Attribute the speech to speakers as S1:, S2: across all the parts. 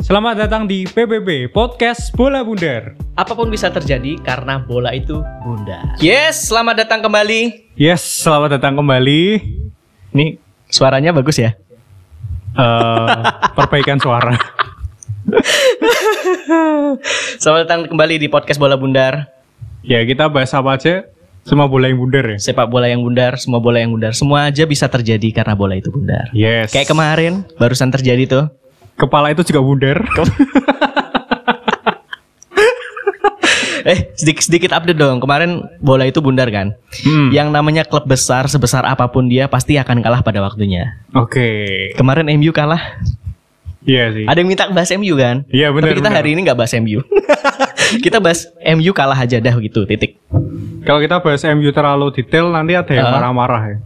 S1: Selamat datang di PBB Podcast Bola Bundar.
S2: Apapun bisa terjadi karena bola itu bundar.
S3: Yes, selamat datang kembali.
S1: Yes, selamat datang kembali.
S2: Nih, suaranya bagus ya?
S1: Eh, perbaikan suara.
S3: Selamat datang kembali di podcast Bola Bundar.
S1: Ya, kita bahas apa aja? Semua bola yang bundar ya.
S3: Sepak bola yang bundar, semua bola yang bundar, semua aja bisa terjadi karena bola itu bundar.
S1: Yes.
S3: Kayak kemarin barusan terjadi tuh.
S1: Kepala itu juga bundar.
S3: Eh, sedikit sedikit update dong. Kemarin bola itu bundar kan.
S1: Hmm,
S3: Yang namanya klub besar sebesar apapun dia pasti akan kalah pada waktunya.
S1: Oke.
S3: Kemarin MU kalah.
S1: Iya sih.
S3: Ada yang minta bahas MU kan?
S1: Iya, benar,
S3: Tapi kita
S1: benar.
S3: hari ini nggak bahas MU. kita bahas MU kalah aja dah gitu. Titik.
S1: Kalau kita bahas MU terlalu detail nanti ada yang
S3: Ah.
S1: marah-marah ya.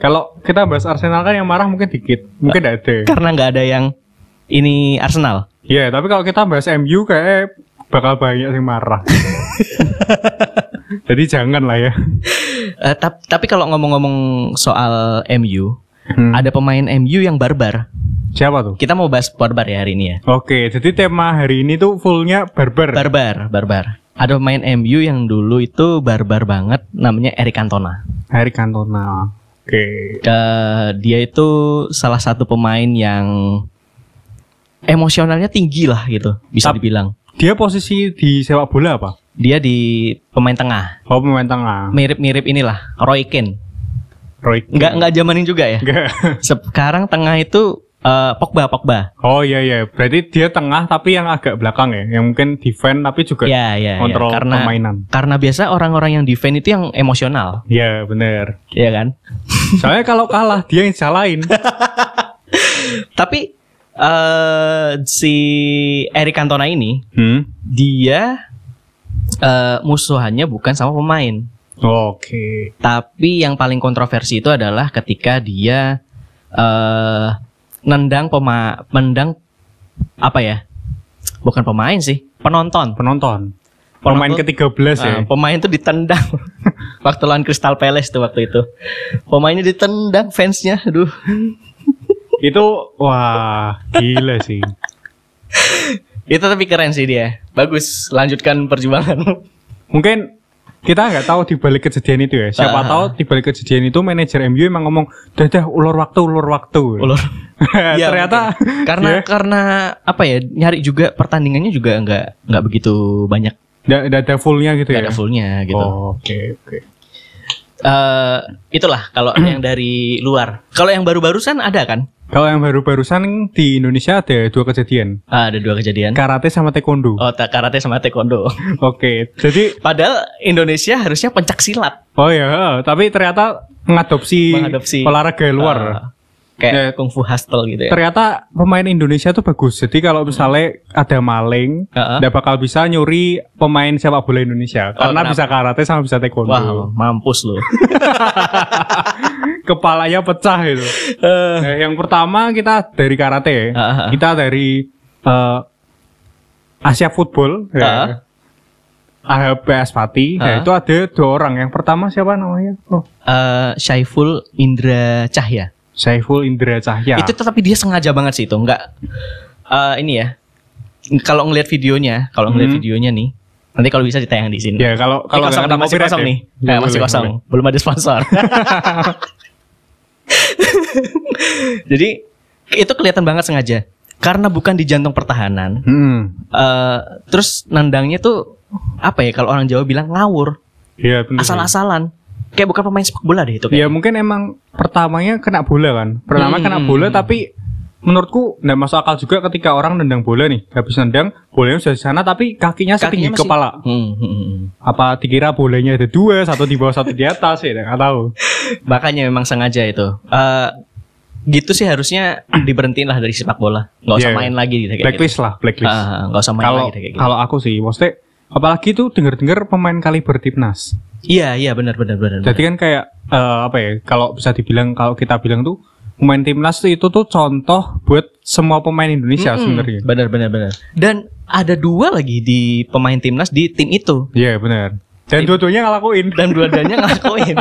S1: Kalau kita bahas Arsenal kan yang marah mungkin dikit, mungkin nggak ada.
S3: Karena nggak ada yang ini Arsenal.
S1: Ya, tapi kalau kita bahas MU kayak bakal banyak yang marah. Jadi jangan lah ya.
S3: Eh, tap- tapi kalau ngomong-ngomong soal MU,
S1: Hmm.
S3: ada pemain MU yang barbar.
S1: Siapa tuh?
S3: Kita mau bahas barbar ya hari ini ya.
S1: Oke, jadi tema hari ini tuh fullnya barbar.
S3: Barbar, barbar. Ada pemain MU yang dulu itu barbar banget, namanya Eric Cantona.
S1: Hari Cantona. Oke.
S3: Eh, dia itu salah satu pemain yang emosionalnya tinggi lah gitu, bisa
S1: Tap-
S3: dibilang.
S1: Dia posisi di sepak bola apa?
S3: Dia di pemain tengah,
S1: Oh, pemain tengah.
S3: mirip-mirip inilah Roy Keane.
S1: Roy. Keane.
S3: Nggak nggak zamanin juga ya.
S1: Nggak.
S3: Sekarang tengah itu eh, Pogba, Pogba.
S1: Oh iya iya, berarti dia tengah tapi yang agak belakang ya, yang mungkin defend tapi juga
S3: Ya ya. ya.
S1: kontrol
S3: Karena
S1: permainan.
S3: Karena biasa orang-orang yang defend itu yang emosional,
S1: Iya bener
S3: ya kan?
S1: Soalnya kalau kalah dia yang salahin.
S3: Tapi eh si Eric Cantona ini
S1: Hmm?
S3: dia eh musuhannya bukan sama pemain,
S1: Oke.
S3: tapi yang paling kontroversi itu adalah ketika dia eh nendang pema mendang apa ya? Bukan pemain sih, penonton.
S1: Penonton. Pemain
S3: Penonton-
S1: ke-13 ya.
S3: Ah, pemain itu ditendang waktu lawan Crystal Palace tuh waktu itu. Pemainnya ditendang fansnya, aduh.
S1: Itu wah, gila sih.
S3: Itu tapi keren sih dia. Bagus, lanjutkan perjuangan.
S1: Mungkin kita nggak tahu di balik kejadian itu ya. Siapa
S3: Ah.
S1: tahu di balik kejadian itu manajer MU emang ngomong, "Dah dah ulur waktu, ulur waktu."
S3: Ulur. Iya,
S1: Ya, Ternyata
S3: mungkin. karena
S1: ya.
S3: karena apa ya? Nyari juga pertandingannya juga nggak nggak begitu banyak
S1: nggak nggak ada fullnya gitu
S3: nggak
S1: ya.
S3: ada fullnya gitu.
S1: Oh, Oke, oke.
S3: Eh, itulah kalau yang dari luar. Kalau yang baru-barusan ada kan?
S1: Kalau yang baru-barusan di Indonesia ada ya dua kejadian,
S3: Ah, ada dua kejadian.
S1: karate sama taekwondo.
S3: Oh, ta- karate sama taekwondo.
S1: Oke, jadi
S3: Padahal Indonesia harusnya pencak silat
S1: oh ya, tapi ternyata mengadopsi,
S3: Mengadopsi. Ah.
S1: olahraga luar. Ya.
S3: kayak kungfu hustle gitu ya.
S1: ternyata pemain Indonesia tuh bagus. Jadi kalau misalnya ada maling,
S3: Heeh.
S1: nggak bakal bisa nyuri pemain sepak bola Indonesia
S3: Oh,
S1: karena
S3: kenapa?
S1: bisa karate sama bisa taekwondo.
S3: Wow, mampus lu.
S1: Kepalanya pecah itu.
S3: Eh,
S1: Nah, yang pertama kita dari karate, ya.
S3: Heeh.
S1: kita dari eh, Asia Football.
S3: Heeh.
S1: ya. AHBS Pati, Nah,
S3: Heeh.
S1: itu ada dua orang. Yang pertama siapa namanya? Oh,
S3: eh, Syaiful Indra Cahya.
S1: Saiful Indra Cahya.
S3: Itu tuh tapi dia sengaja banget sih itu, nggak eh, ini ya. Kalau ngelihat videonya, kalau ngelihat
S1: Hmm.
S3: videonya nih, nanti kalau bisa ditayang di sini.
S1: ya kalau
S3: Ini
S1: kalau
S3: kosong
S1: nggak
S3: nih, masih
S1: copyright
S3: kosong
S1: ya.
S3: nih.
S1: Ya,
S3: Eh, masih
S1: boleh,
S3: kosong,
S1: boleh.
S3: belum ada sponsor. Jadi itu kelihatan banget sengaja. Karena bukan di jantung pertahanan,
S1: Hmm.
S3: eh, terus nendangnya tuh apa ya? Kalau orang Jawa bilang ngawur,
S1: Iya,
S3: Hmm.
S1: bener.
S3: asal-asalan. Kayak bukan pemain sepak bola deh itu.
S1: Ya
S3: kayaknya.
S1: mungkin emang pertamanya kena bola kan. Pertama
S3: Hmm.
S1: kena bola tapi menurutku nggak masuk akal juga ketika orang nendang bola nih. Habis nendang, bolanya sudah di sana tapi kakinya setinggi
S3: Kakinya masih-
S1: kepala.
S3: Hmm, hmm, hmm.
S1: Apa dikira bolanya ada dua, satu di bawah satu di atas ya? Nggak tahu.
S3: Makanya memang sengaja itu. Eh gitu sih harusnya diberhentiin lah dari sepak bola. Nggak usah
S1: Iya.
S3: main lagi gitu kayak gitu.
S1: Blacklist lah, blacklist.
S3: Ah, nggak usah main
S1: kalau
S3: lagi deh kayak gitu.
S1: kalau aku sih, maksudnya apalagi tuh denger-denger pemain kaliber timnas.
S3: Iya, iya benar benar benar.
S1: Jadi kan kayak eh, apa ya? Kalau bisa dibilang kalau kita bilang tuh pemain timnas tuh itu tuh contoh buat semua pemain Indonesia sebenarnya.
S3: Benar benar benar. Dan ada dua lagi di pemain timnas di tim itu
S1: Iya benar. Dan dua-duanya ngelakuin.
S3: dan dua-duanya ngelakuin.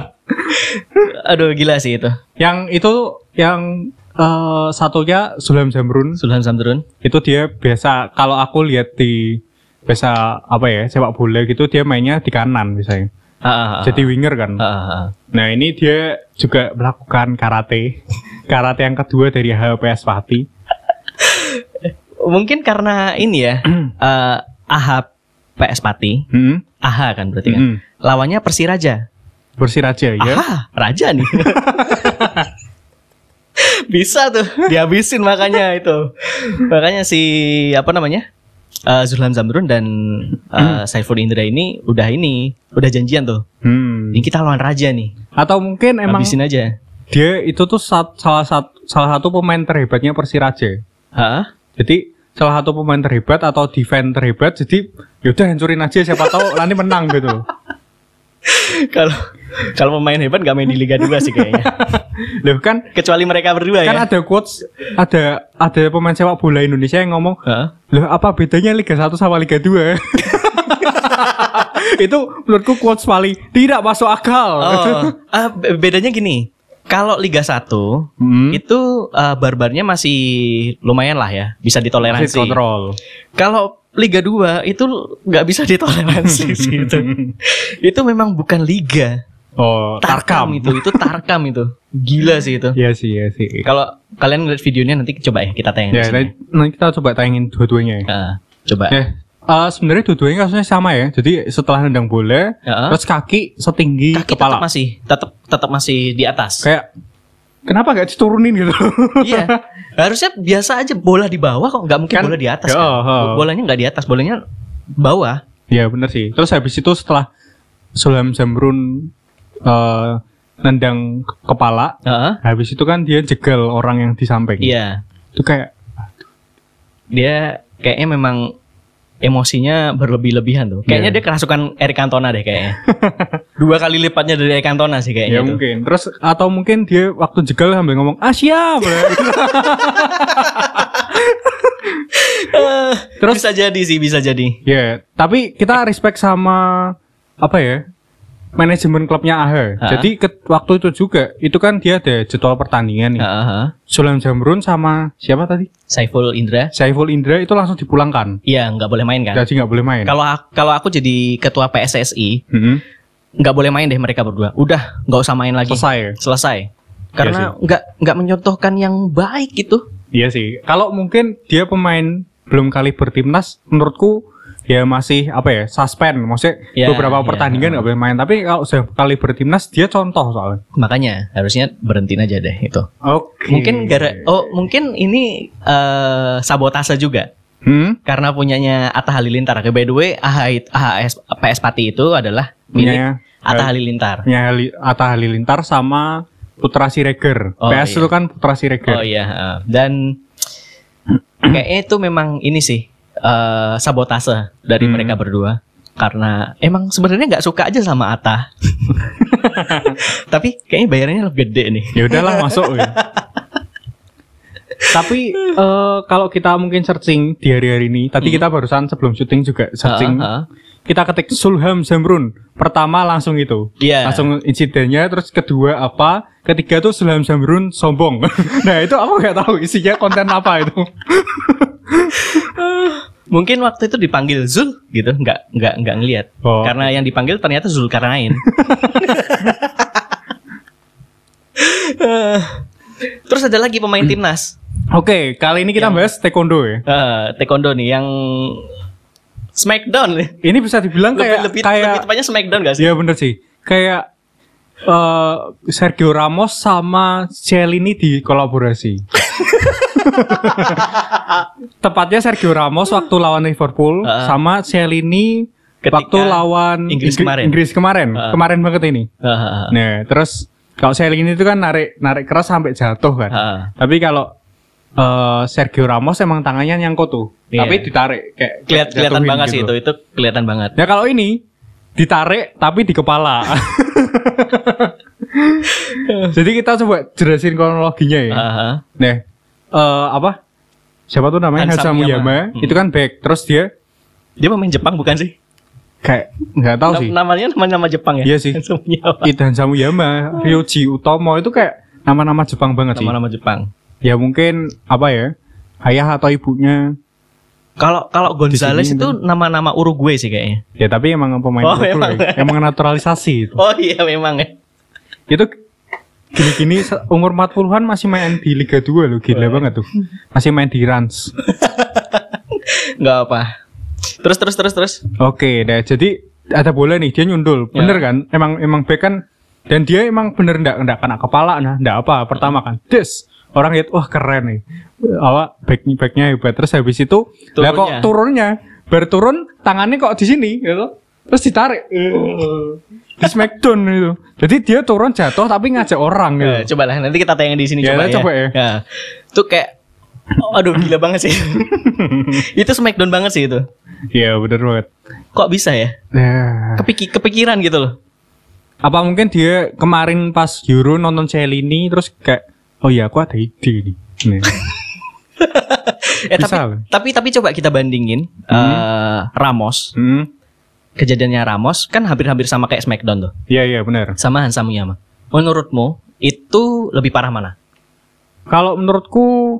S3: Aduh gila sih itu.
S1: Yang itu yang eh, satunya Sulham Zamrun
S3: Sulhan Samdurun.
S1: itu dia biasa kalau aku lihat di biasa apa ya sepak bola gitu dia mainnya di kanan misalnya
S3: Ah, ah, ah.
S1: jadi winger kan
S3: Ah, ah, ah.
S1: nah ini dia juga melakukan karate karate yang kedua dari HPS Pati
S3: Mungkin karena ini ya, eh AH PS Pati,
S1: hmm,
S3: AH kan berarti kan.
S1: hmm.
S3: Lawannya Persiraja.
S1: Bersiraja ya
S3: AH, raja nih. Bisa tuh dihabisin makanya itu. Makanya si apa namanya? Eh Zulhan Zamrun dan eh, Saiful Indra ini udah ini, udah janjian tuh.
S1: Hmm.
S3: Ini kita lawan raja nih.
S1: atau mungkin emang
S3: Habisin aja.
S1: dia itu tuh sat- salah satu salah satu pemain terhebatnya Persiraja
S3: Hah?
S1: jadi salah satu pemain terhebat atau defend terhebat jadi yaudah hancurin aja siapa tahu nanti menang gitu loh
S3: Kalau kalau pemain hebat gak main di Liga 2 sih kayaknya.
S1: Loh, kan
S3: Kecuali mereka berdua
S1: kan
S3: ya.
S1: ada quotes ada ada pemain sepak bola Indonesia yang ngomong
S3: Hah?
S1: loh apa bedanya Liga 1 sama Liga 2 itu menurutku quotes paling tidak masuk akal
S3: Oh, ah, be- bedanya gini. Kalau Liga 1
S1: Hmm,
S3: itu eh, barbarnya masih lumayan lah ya, bisa
S1: masih
S3: ditoleransi.
S1: kontrol
S3: Kalau Liga 2 itu nggak bisa ditoleransi sih itu. Itu memang bukan liga.
S1: oh tarkam,
S3: itu, itu tarkam itu. Gila sih itu.
S1: Iya sih ya sih
S3: Kalau kalian ngeliat videonya nanti coba ya kita tayangin. di
S1: ya
S3: sini.
S1: nanti- nanti kita coba tayangin dua-duanya ya
S3: Eh, coba.
S1: Eh, eh, sebenarnya dua-duanya kasusnya sama ya jadi setelah nendang bola
S3: Heeh.
S1: terus kaki setinggi
S3: Kaki
S1: kepala
S3: tetap masih tetap tetap masih di atas.
S1: kayak kenapa gak diturunin gitu
S3: iya. Harusnya biasa aja bola di bawah kok nggak mungkin
S1: Kan-
S3: bola di atas.
S1: Ya,
S3: kan?
S1: oh, oh.
S3: Bolanya nggak di atas, bolanya bawah.
S1: Ya bener sih. Terus habis itu setelah Sulam Zamrun eh, nendang ke- kepala,
S3: Heeh.
S1: habis itu kan dia jegal orang yang di samping.
S3: Iya.
S1: Itu kayak
S3: Dia kayaknya memang emosinya berlebih-lebihan tuh. Kayaknya
S1: Iya.
S3: dia kerasukan Eric Cantona deh kayaknya. Dua kali lipatnya dari Eric Cantona sih
S1: ya
S3: kayaknya. tuh.
S1: mungkin. Terus atau mungkin dia waktu jegal sambil ngomong ah siap.
S3: Eh,
S1: Terus-
S3: bisa jadi sih, bisa jadi.
S1: ya, tapi kita respect sama apa ya? Manajemen klubnya AHE.
S3: Ah.
S1: Jadi ke- waktu itu juga itu kan dia ada jadwal pertandingan nih.
S3: Heeh, heeh.
S1: Sulam Zamrun sama siapa tadi?
S3: Ah, Saiful Indra,
S1: Saiful Indra itu langsung dipulangkan.
S3: iya nggak boleh main kan?
S1: Jadi nggak boleh main.
S3: Kalau aku, kalau aku jadi ketua PSSI,
S1: Mm-mm.
S3: nggak boleh main deh mereka berdua. Udah nggak usah main lagi.
S1: Selesai.
S3: Selesai. Karena nggak nggak mencontohkan yang baik gitu.
S1: Iya sih. Kalau mungkin dia pemain belum kali bertimnas, menurutku ya masih apa ya suspend. Maksudnya
S3: Ya,
S1: beberapa
S3: ya.
S1: pertandingan nggak boleh main. Tapi kalau sudah kali bertimnas dia contoh soalnya.
S3: Makanya harusnya berhentiin aja deh itu.
S1: Oke.
S3: Mungkin gara oh mungkin ini eh, sabotase juga
S1: Hmm?
S3: karena punyanya Atta Halilintar. By the way, AH, it- AHS PS Pati itu adalah milik
S1: Punya eh,
S3: Atta Halilintar.
S1: punya Hali- Atta Halilintar sama Putra Siregar.
S3: Oh,
S1: PS
S3: iya.
S1: itu kan Putra Siregar.
S3: Oh iya, eh. dan kayaknya itu memang ini sih eh, sabotase dari
S1: Hmm.
S3: mereka berdua karena emang sebenarnya nggak suka aja sama Atta. Tapi kayaknya bayarannya lebih gede nih.
S1: Ya udahlah masuk. ya. Tapi eh, kalau kita mungkin searching di hari-hari ini, tadi
S3: Hmm. Ah,
S1: kita barusan sebelum syuting juga searching,
S3: Heeh, heeh.
S1: kita ketik Sulham Zamrun pertama langsung itu.
S3: Iya.
S1: langsung insidennya terus kedua apa ketiga tuh Sulam Samrun sombong nah itu aku nggak tahu isinya konten apa itu
S3: Mungkin waktu itu dipanggil Zul gitu, nggak nggak nggak ngelihat.
S1: Oh.
S3: Karena yang dipanggil ternyata Zulkarnain. Eh, Terus ada lagi pemain timnas
S1: oke kali ini
S3: Iya.
S1: kita bahas taekwondo ya
S3: eh, taekwondo nih yang Smackdown nih.
S1: ini bisa dibilang
S3: Lebih
S1: kayak
S3: lebih,
S1: kayak
S3: lebih tepatnya Smackdown gak sih?
S1: ya bener sih kayak eh, Sergio Ramos sama Celini dikolaborasi tepatnya Sergio Ramos waktu lawan Liverpool
S3: Heeh.
S1: sama Celini
S3: Ketika
S1: waktu lawan Inggris-
S3: Inggris kemarin.
S1: Inggris kemarin,
S3: Heeh.
S1: kemarin banget ini
S3: Heeh,
S1: Nah, terus kalau sailing ini tuh kan narik narik keras sampai jatuh kan.
S3: heeh.
S1: Tapi kalau eh, Sergio Ramos emang tangannya nyangkut tuh,
S3: Iya.
S1: tapi ditarik kayak
S3: Keliat- kelihatan
S1: jatuhin
S3: banget sih
S1: gitu.
S3: itu, itu kelihatan banget.
S1: Ya kalau ini ditarik tapi di kepala. Jadi kita coba jelasin kronologinya ya.
S3: Heeh.
S1: Nah, eh, apa? Siapa tuh namanya Hansa
S3: Hansa Muyama.
S1: Muyama? Itu kan back. Terus dia
S3: Dia pemain Jepang bukan sih?
S1: kayak nggak tahu
S3: Nam-
S1: Oh, sih.
S3: Namanya nama-nama Jepang ya?
S1: Iya sih.
S3: Semuanya apa?
S1: Itu Hansa Muyama, Ryoji Utomo itu kayak Hmm. nama-nama Jepang banget sih.
S3: Nama-nama Jepang.
S1: ya mungkin apa ya ayah atau ibunya
S3: Kalau kalau Gonzales itu nama-nama Uruguay sih kayaknya.
S1: ya tapi emang pemain
S3: Oh,
S1: Liverpool
S3: memang.
S1: ya. emang naturalisasi itu
S3: Oh iya memang ya.
S1: itu gini-gini se- umur 40-an masih main di Liga 2 loh gila banget tuh masih main di Rans
S3: Enggak apa. Terus terus terus terus.
S1: Oke, nah jadi ada bola nih dia nyundul,
S3: Ya.
S1: bener kan? Emang emang back kan dan dia emang bener ndak ndak kena kepala nah ndak apa pertama kan des orang lihat wah keren nih awak back backnya hebat terus habis itu lah kok
S3: Turunnya.
S1: turunnya berturun tangannya kok di sini gitu terus ditarik di smackdown itu jadi dia turun jatuh tapi ngajak orang gitu
S3: Ya, coba lah nanti kita tayang di sini
S1: Ya,
S3: coba,
S1: lah, coba ya.
S3: Ya. Itu kayak oh, aduh gila banget sih. itu smackdown banget sih itu.
S1: iya bener banget
S3: Kok bisa ya?
S1: Nah,
S3: Kepiki, kepikiran gitu loh.
S1: apa mungkin dia kemarin pas Euro nonton Celini terus kayak oh ya aku ada ide nih Nih.
S3: Eh,
S1: Bisa Hmm.
S3: tapi,
S1: loh.
S3: tapi tapi coba kita bandingin eh, Ramos,
S1: Hmm.
S3: kejadiannya Ramos kan hampir-hampir sama kayak smackdown tuh.
S1: Iya iya benar.
S3: Sama Hansa Muyama. Menurutmu itu lebih parah mana?
S1: Kalau menurutku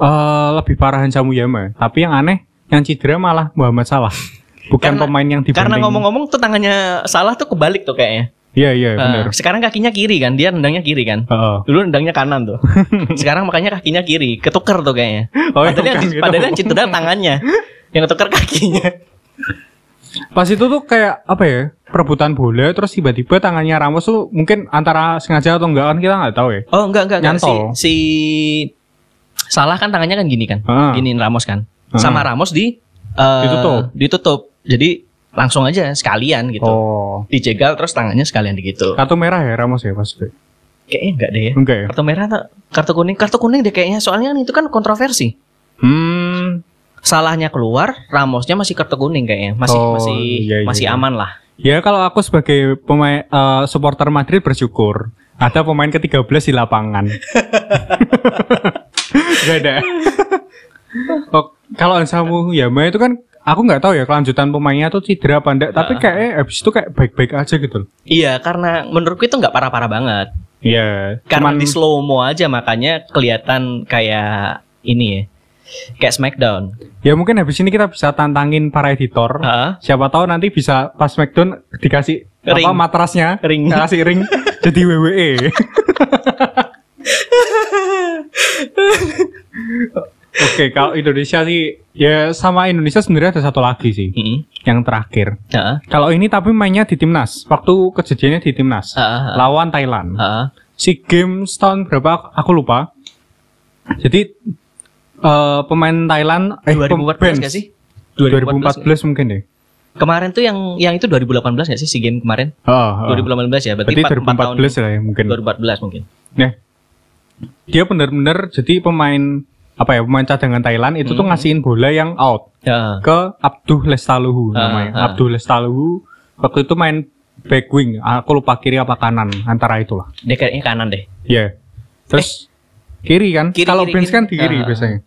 S1: eh lebih parah Hansa Muyama, tapi yang aneh yang cedera malah Muhammad Salah. Bukan
S3: Karena-
S1: pemain yang dibanding.
S3: Karena ngomong-ngomong tuh tangannya salah tuh kebalik tuh kayaknya.
S1: Iya iya
S3: Eh,
S1: benar.
S3: sekarang kakinya kiri kan, dia nendangnya kiri kan.
S1: Heeh.
S3: Dulu nendangnya kanan tuh. Sekarang makanya kakinya kiri, ketuker tuh kayaknya.
S1: Oh, iya,
S3: padahal yang,
S1: bukan gitu.
S3: padahal yang cedera tangannya. Yang ketuker kakinya.
S1: Pas itu tuh kayak apa ya? Perebutan bola terus tiba-tiba tangannya Ramos tuh mungkin antara sengaja atau enggak kan kita nggak tahu ya.
S3: Oh, enggak enggak enggak si,
S1: Nyantol.
S3: si Salah kan tangannya kan gini kan.
S1: Ah.
S3: Giniin Ramos kan.
S1: Ah.
S3: Sama Ramos di eh,
S1: Ditutup.
S3: ditutup. Jadi langsung aja sekalian gitu.
S1: Oh.
S3: Dijegal terus tangannya sekalian gitu.
S1: Kartu merah ya Ramos ya pas itu.
S3: Kayaknya enggak deh ya.
S1: Enggak ya?
S3: Kartu merah atau kartu kuning? Kartu kuning deh kayaknya. Soalnya kan itu kan kontroversi.
S1: Hmm.
S3: Salahnya keluar, Ramosnya masih kartu kuning kayaknya. Masih
S1: Oh,
S3: masih
S1: iya, iya,
S3: masih
S1: iya.
S3: aman lah.
S1: Ya kalau aku sebagai pemain eh, supporter Madrid bersyukur ada pemain ke-13 di lapangan. Gak ada. oh, kalau Ansamu Yama itu kan aku nggak tahu ya kelanjutan pemainnya tuh cedera apa enggak,
S3: Ah.
S1: tapi kayaknya habis itu kayak baik-baik aja gitu loh.
S3: Iya, karena menurutku itu nggak parah-parah banget.
S1: Iya, cuman
S3: Karena di slow mo aja makanya kelihatan kayak ini ya. Kayak Smackdown.
S1: ya mungkin habis ini kita bisa tantangin para editor.
S3: Heeh.
S1: Siapa tahu nanti bisa pas McDon dikasih apa
S3: Ring.
S1: matrasnya,
S3: Ring.
S1: dikasih ring jadi E. WWE. Oke, kalau Indonesia sih ya sama Indonesia sebenarnya ada satu lagi sih
S3: Heeh.
S1: yang terakhir.
S3: Heeh.
S1: Kalau ini tapi mainnya di timnas. Waktu kejadiannya di timnas
S3: Heeh.
S1: lawan Thailand.
S3: Heeh.
S1: Si games tahun berapa aku lupa. Jadi eh, pemain Thailand eh
S3: 2014 nggak
S1: pem-
S3: sih?
S1: 2014, mungkin deh.
S3: Kemarin tuh yang yang itu 2018 nggak sih si game kemarin?
S1: Heeh, heeh.
S3: 2018 ya, berarti,
S1: Ah, Berarti
S3: 4, 4 tahun
S1: 2014 lah ya mungkin.
S3: 2014 mungkin.
S1: Nah, dia benar-benar jadi pemain apa ya pemain cadangan Thailand itu tuh
S3: Hmm.
S1: ngasihin bola yang out
S3: Heeh.
S1: ke Abduh Lestaluhu
S3: Ah,
S1: namanya.
S3: ah.
S1: Abduh Lestaluhu waktu itu main back wing, aku lupa kiri apa kanan antara itulah.
S3: Dia kayaknya kanan deh.
S1: Ya. Terus kiri kan?
S3: Eh, kiri,
S1: Kalau
S3: kiri,
S1: Prince
S3: kiri.
S1: kan di kiri
S3: Ah, ah.
S1: biasanya.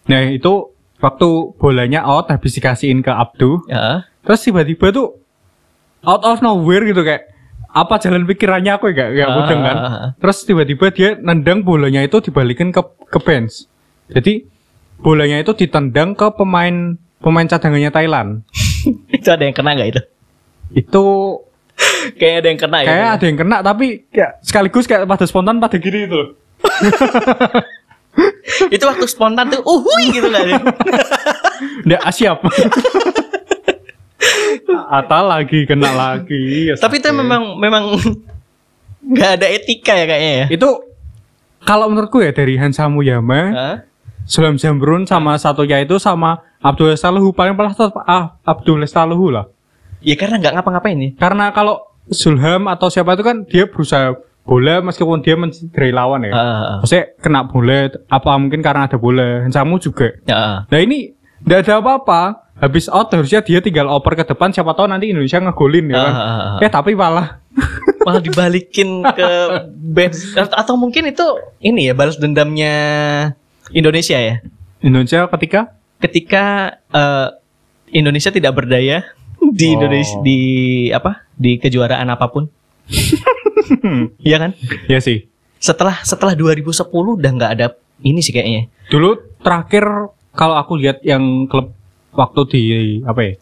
S1: Nah, itu waktu bolanya out habis dikasihin ke Abduh,
S3: Heeh.
S1: terus tiba-tiba tuh out of nowhere gitu kayak apa jalan pikirannya aku ya gak, gak
S3: Ah,
S1: mudeng kan
S3: ah, ah, ah.
S1: terus tiba-tiba dia nendang bolanya itu dibalikin ke ke bench jadi bolanya itu ditendang ke pemain pemain cadangannya Thailand
S3: itu ada yang kena nggak itu?
S1: itu
S3: Kayak ada yang kena ya.
S1: kayak ada yang kena tapi kayak sekaligus kayak pada spontan pada gini itu loh.
S3: itu waktu spontan tuh uhui gitu nggak deh.
S1: nggak ah, siap Ata lagi kena lagi ya
S3: Tapi itu
S1: sakit.
S3: memang memang nggak ada etika ya kayaknya ya.
S1: itu kalau menurutku ya dari Hansa Muyama
S3: Hah?
S1: Sulam Jamrun sama satunya itu sama Abdul Saluhu paling paling ah, Abdul Saluhu lah.
S3: Ya karena nggak ngapa-ngapain ya.
S1: Karena kalau Zulham atau siapa itu kan dia berusaha bola meskipun dia mencederai lawan ya.
S3: Heeh.
S1: Maksudnya kena bola apa mungkin karena ada bola. Hansamu juga.
S3: Heeh.
S1: Nah ini tidak ada apa-apa. Habis out harusnya dia tinggal oper ke depan siapa tahu nanti Indonesia ngegolin ya kan.
S3: Ah, ah, ah.
S1: Eh tapi malah
S3: malah dibalikin ke bench Atau- atau mungkin itu ini ya balas dendamnya Indonesia ya
S1: Indonesia ketika
S3: ketika eh, Indonesia tidak berdaya di
S1: Oh.
S3: Indonesia di apa di kejuaraan apapun iya kan
S1: ya sih.
S3: setelah setelah 2010 udah nggak ada ini sih kayaknya.
S1: Dulu terakhir kalau aku lihat yang klub waktu di apa ya?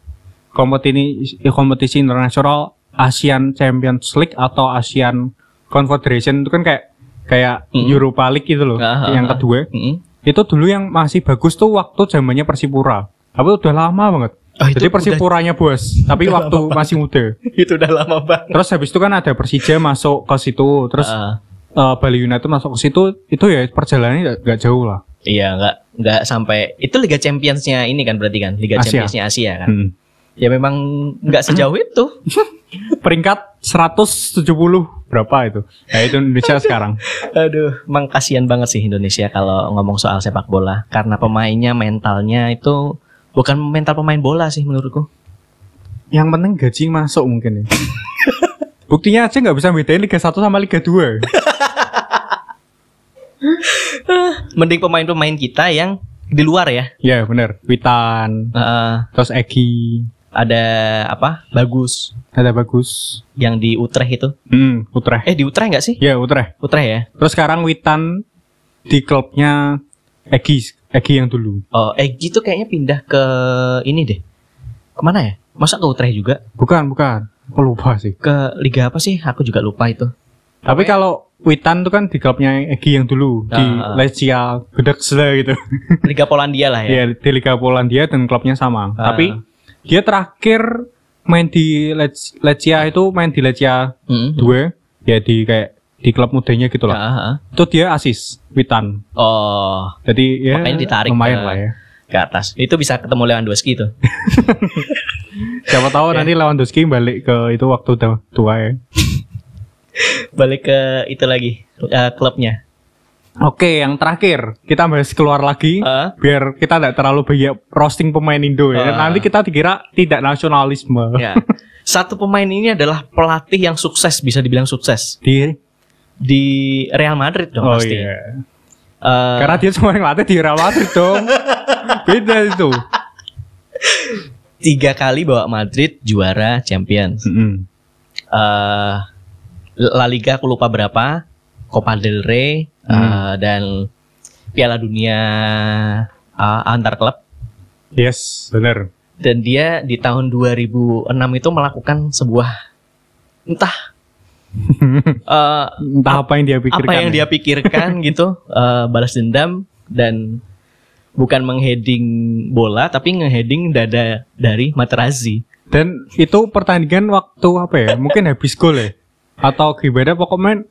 S1: Kompetisi kompetisi internasional Asian Champions League atau Asian Confederation itu kan kayak kayak
S3: Mm.
S1: Europa League gitu loh.
S3: Ah, ah,
S1: yang
S3: ah.
S1: kedua
S3: Mm-mm.
S1: itu dulu yang masih bagus tuh waktu zamannya Persipura. Tapi udah lama banget.
S3: Ah, itu
S1: Jadi
S3: udah-
S1: Persipuranya bos, tapi
S3: udah
S1: waktu
S3: lama
S1: masih muda.
S3: itu udah lama banget.
S1: Terus habis itu kan ada Persija masuk ke situ, terus
S3: Ah,
S1: eh, Bali United masuk ke situ, itu ya perjalanannya nggak- nggak jauh lah.
S3: iya nggak nggak sampai itu Liga Championsnya ini kan berarti kan Liga
S1: Asia.
S3: Championsnya Asia kan.
S1: Hmm.
S3: Ya memang nggak sejauh itu.
S1: Peringkat 170 berapa itu? Nah itu Indonesia sekarang.
S3: Aduh, emang kasihan banget sih Indonesia kalau ngomong soal sepak bola karena pemainnya mentalnya itu bukan mental pemain bola sih menurutku.
S1: Yang penting gaji masuk mungkin ya. Buktinya aja nggak bisa bedain Liga 1 sama Liga 2.
S3: Mending pemain-pemain kita yang di luar ya.
S1: ya bener. Witan,
S3: Eh,
S1: terus Egi,
S3: ada apa? Bagus
S1: ada bagus.
S3: yang di Utrecht itu.
S1: Hmm, Utrecht.
S3: Eh di Utrecht nggak sih?
S1: Ya Utrecht.
S3: Utrecht ya.
S1: Terus sekarang Witan di klubnya Egi, Egi yang dulu.
S3: Oh, Egy tuh kayaknya pindah ke ini deh. Kemana ya? Masa ke Utrecht juga?
S1: Bukan, bukan. Aku lupa sih.
S3: Ke liga apa sih? Aku juga lupa itu.
S1: Tapi kalau Witan tuh kan di klubnya Egi yang dulu di
S3: Ah, ah.
S1: Lecia Gdańsk gitu.
S3: Liga Polandia lah
S1: Ya
S3: ya.
S1: di Liga Polandia dan klubnya sama.
S3: Ah.
S1: Tapi dia terakhir main di Lec- Lecia itu main di Lecia
S3: Mm-mm.
S1: 2 ya di kayak di klub mudanya gitu lah.
S3: Ah, ah.
S1: Itu dia asis Witan.
S3: Oh,
S1: Jadi ya
S3: Makanya ditarik ah.
S1: lumayan
S3: ke-
S1: lah ya.
S3: ke atas. Itu bisa ketemu Lewandowski itu.
S1: Siapa tahu
S3: Ya.
S1: nanti Lewandowski balik ke itu waktu udah tua ya.
S3: Balik ke itu lagi eh, klubnya.
S1: Oke, yang terakhir kita bahas keluar lagi.
S3: Ah,
S1: biar kita tidak terlalu banyak roasting pemain Indo ya.
S3: Ah.
S1: Nanti kita dikira tidak nasionalisme
S3: ya. Satu pemain ini adalah pelatih yang sukses bisa dibilang sukses
S1: di
S3: di Real Madrid dong
S1: oh
S3: pasti.
S1: iya.
S3: Eh,
S1: Karena dia cuma ngelatih di Real Madrid dong. Beda itu.
S3: tiga kali bawa Madrid juara Champions.
S1: Hmm.
S3: eh La Liga aku lupa berapa, Copa del Rey eh,
S1: Hmm.
S3: dan Piala Dunia eh, antar klub
S1: Yes, benar.
S3: dan dia di tahun 2006 itu melakukan sebuah entah eh,
S1: Entah apa yang dia pikirkan. ya.
S3: apa yang dia pikirkan gitu eh, balas dendam dan bukan mengheading bola tapi ngeheading dada dari Materazzi.
S1: Dan itu pertandingan waktu apa ya? Mungkin habis gol ya. Atau gimana pokoknya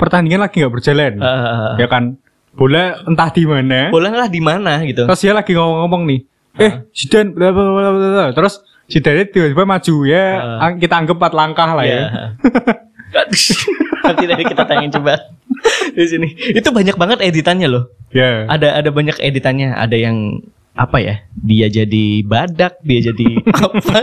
S1: pertandingan lagi nggak berjalan.
S3: Eh,
S1: Ya kan. Bola entah di mana.
S3: bola lah di mana gitu.
S1: Terus dia lagi ngomong-ngomong nih. Eh, Zidane bla bla bla bla. bla. Terus Zidane tiba-tiba maju ya.
S3: Ah.
S1: ang- Kita anggap empat langkah lah ya.
S3: Ya. Nanti deh kita tayangin coba di sini. Itu banyak banget editannya loh.
S1: Ya.
S3: Ada ada banyak editannya. Ada yang apa ya? Dia jadi badak, dia jadi apa?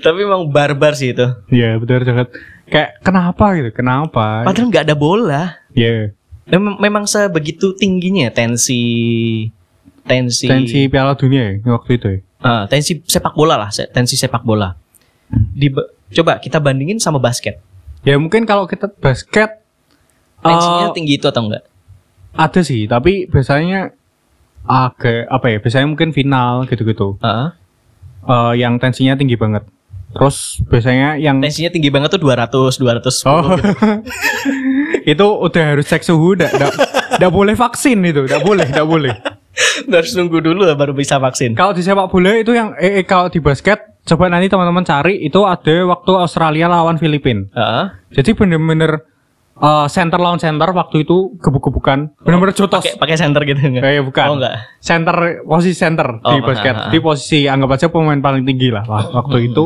S3: Tapi emang barbar sih itu.
S1: Ya, benar banget. Kayak kenapa gitu? Kenapa?
S3: Padahal nggak ada bola.
S1: Ya.
S3: Mem- memang sebegitu tingginya tensi tensi
S1: Tensi Piala Dunia ya waktu itu. ya?
S3: Ah, tensi sepak bola lah, se- tensi sepak bola. Di coba kita bandingin sama basket.
S1: Ya mungkin kalau kita basket
S3: Tensinya
S1: eh,
S3: tinggi itu atau enggak?
S1: ada sih, tapi biasanya agak apa ya? Biasanya mungkin final gitu-gitu.
S3: Heeh.
S1: Eh, yang tensinya tinggi banget. Terus biasanya yang
S3: tensinya tinggi banget tuh 200 200
S1: Oh. itu udah harus cek suhu, ndak ndak- ndak boleh vaksin itu, ndak boleh, ndak boleh.
S3: harus nunggu dulu lah baru bisa vaksin
S1: Kalau di sepak bola itu yang eh, eh, kalau di basket coba nanti teman-teman cari itu ada waktu Australia lawan Filipina.
S3: Heeh.
S1: Jadi bener-bener eh, center lawan center waktu itu gebuk-gebukan, bener-bener jotos.
S3: Oh, pakai pakai center gitu enggak
S1: Eh, bukan.
S3: oh enggak
S1: Center posisi center
S3: Oh,
S1: di basket,
S3: ah, ah, ah.
S1: di posisi anggap aja pemain paling tinggi lah lah
S3: Hmm.
S1: waktu itu.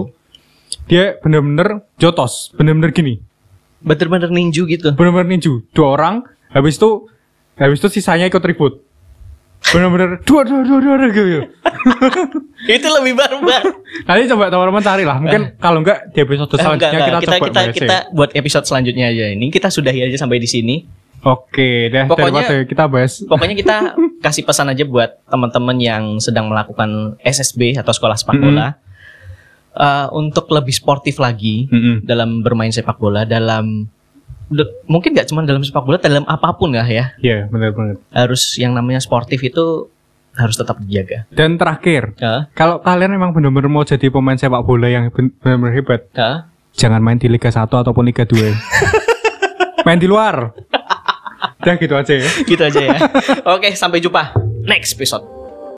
S1: Dia bener-bener jotos, bener-bener gini.
S3: bener-bener ninju gitu
S1: bener-bener ninju dua orang habis itu habis itu sisanya ikut ribut bener-bener dua dua dua dua dua gitu
S3: Ya, itu lebih barbar
S1: nanti coba teman-teman cari lah mungkin kalau enggak di episode
S3: Eh, enggak,
S1: selanjutnya
S3: enggak.
S1: kita,
S3: kita
S1: coba
S3: kita
S1: bahas ya.
S3: kita buat episode selanjutnya aja ini kita sudahi aja sampai di sini
S1: oke deh
S3: Pokoknya-
S1: daripada kita bahas
S3: pokoknya kita kasih pesan aja buat teman-teman yang sedang melakukan SSB atau sekolah sepak
S1: Mm-mm.
S3: bola Eh, untuk lebih sportif lagi
S1: Mm-mm.
S3: dalam bermain sepak bola dalam de- mungkin nggak cuma dalam sepak bola, dalam apapun lah ya.
S1: Iya, benar benar.
S3: Harus yang namanya sportif itu harus tetap dijaga.
S1: Dan terakhir,
S3: Heeh.
S1: kalau kalian memang benar-benar mau jadi pemain sepak bola yang ben- benar-benar hebat,
S3: Heeh.
S1: jangan main di Liga 1 ataupun Liga 2. main di luar. Udah gitu aja ya.
S3: gitu aja ya. Oke, sampai jumpa next episode.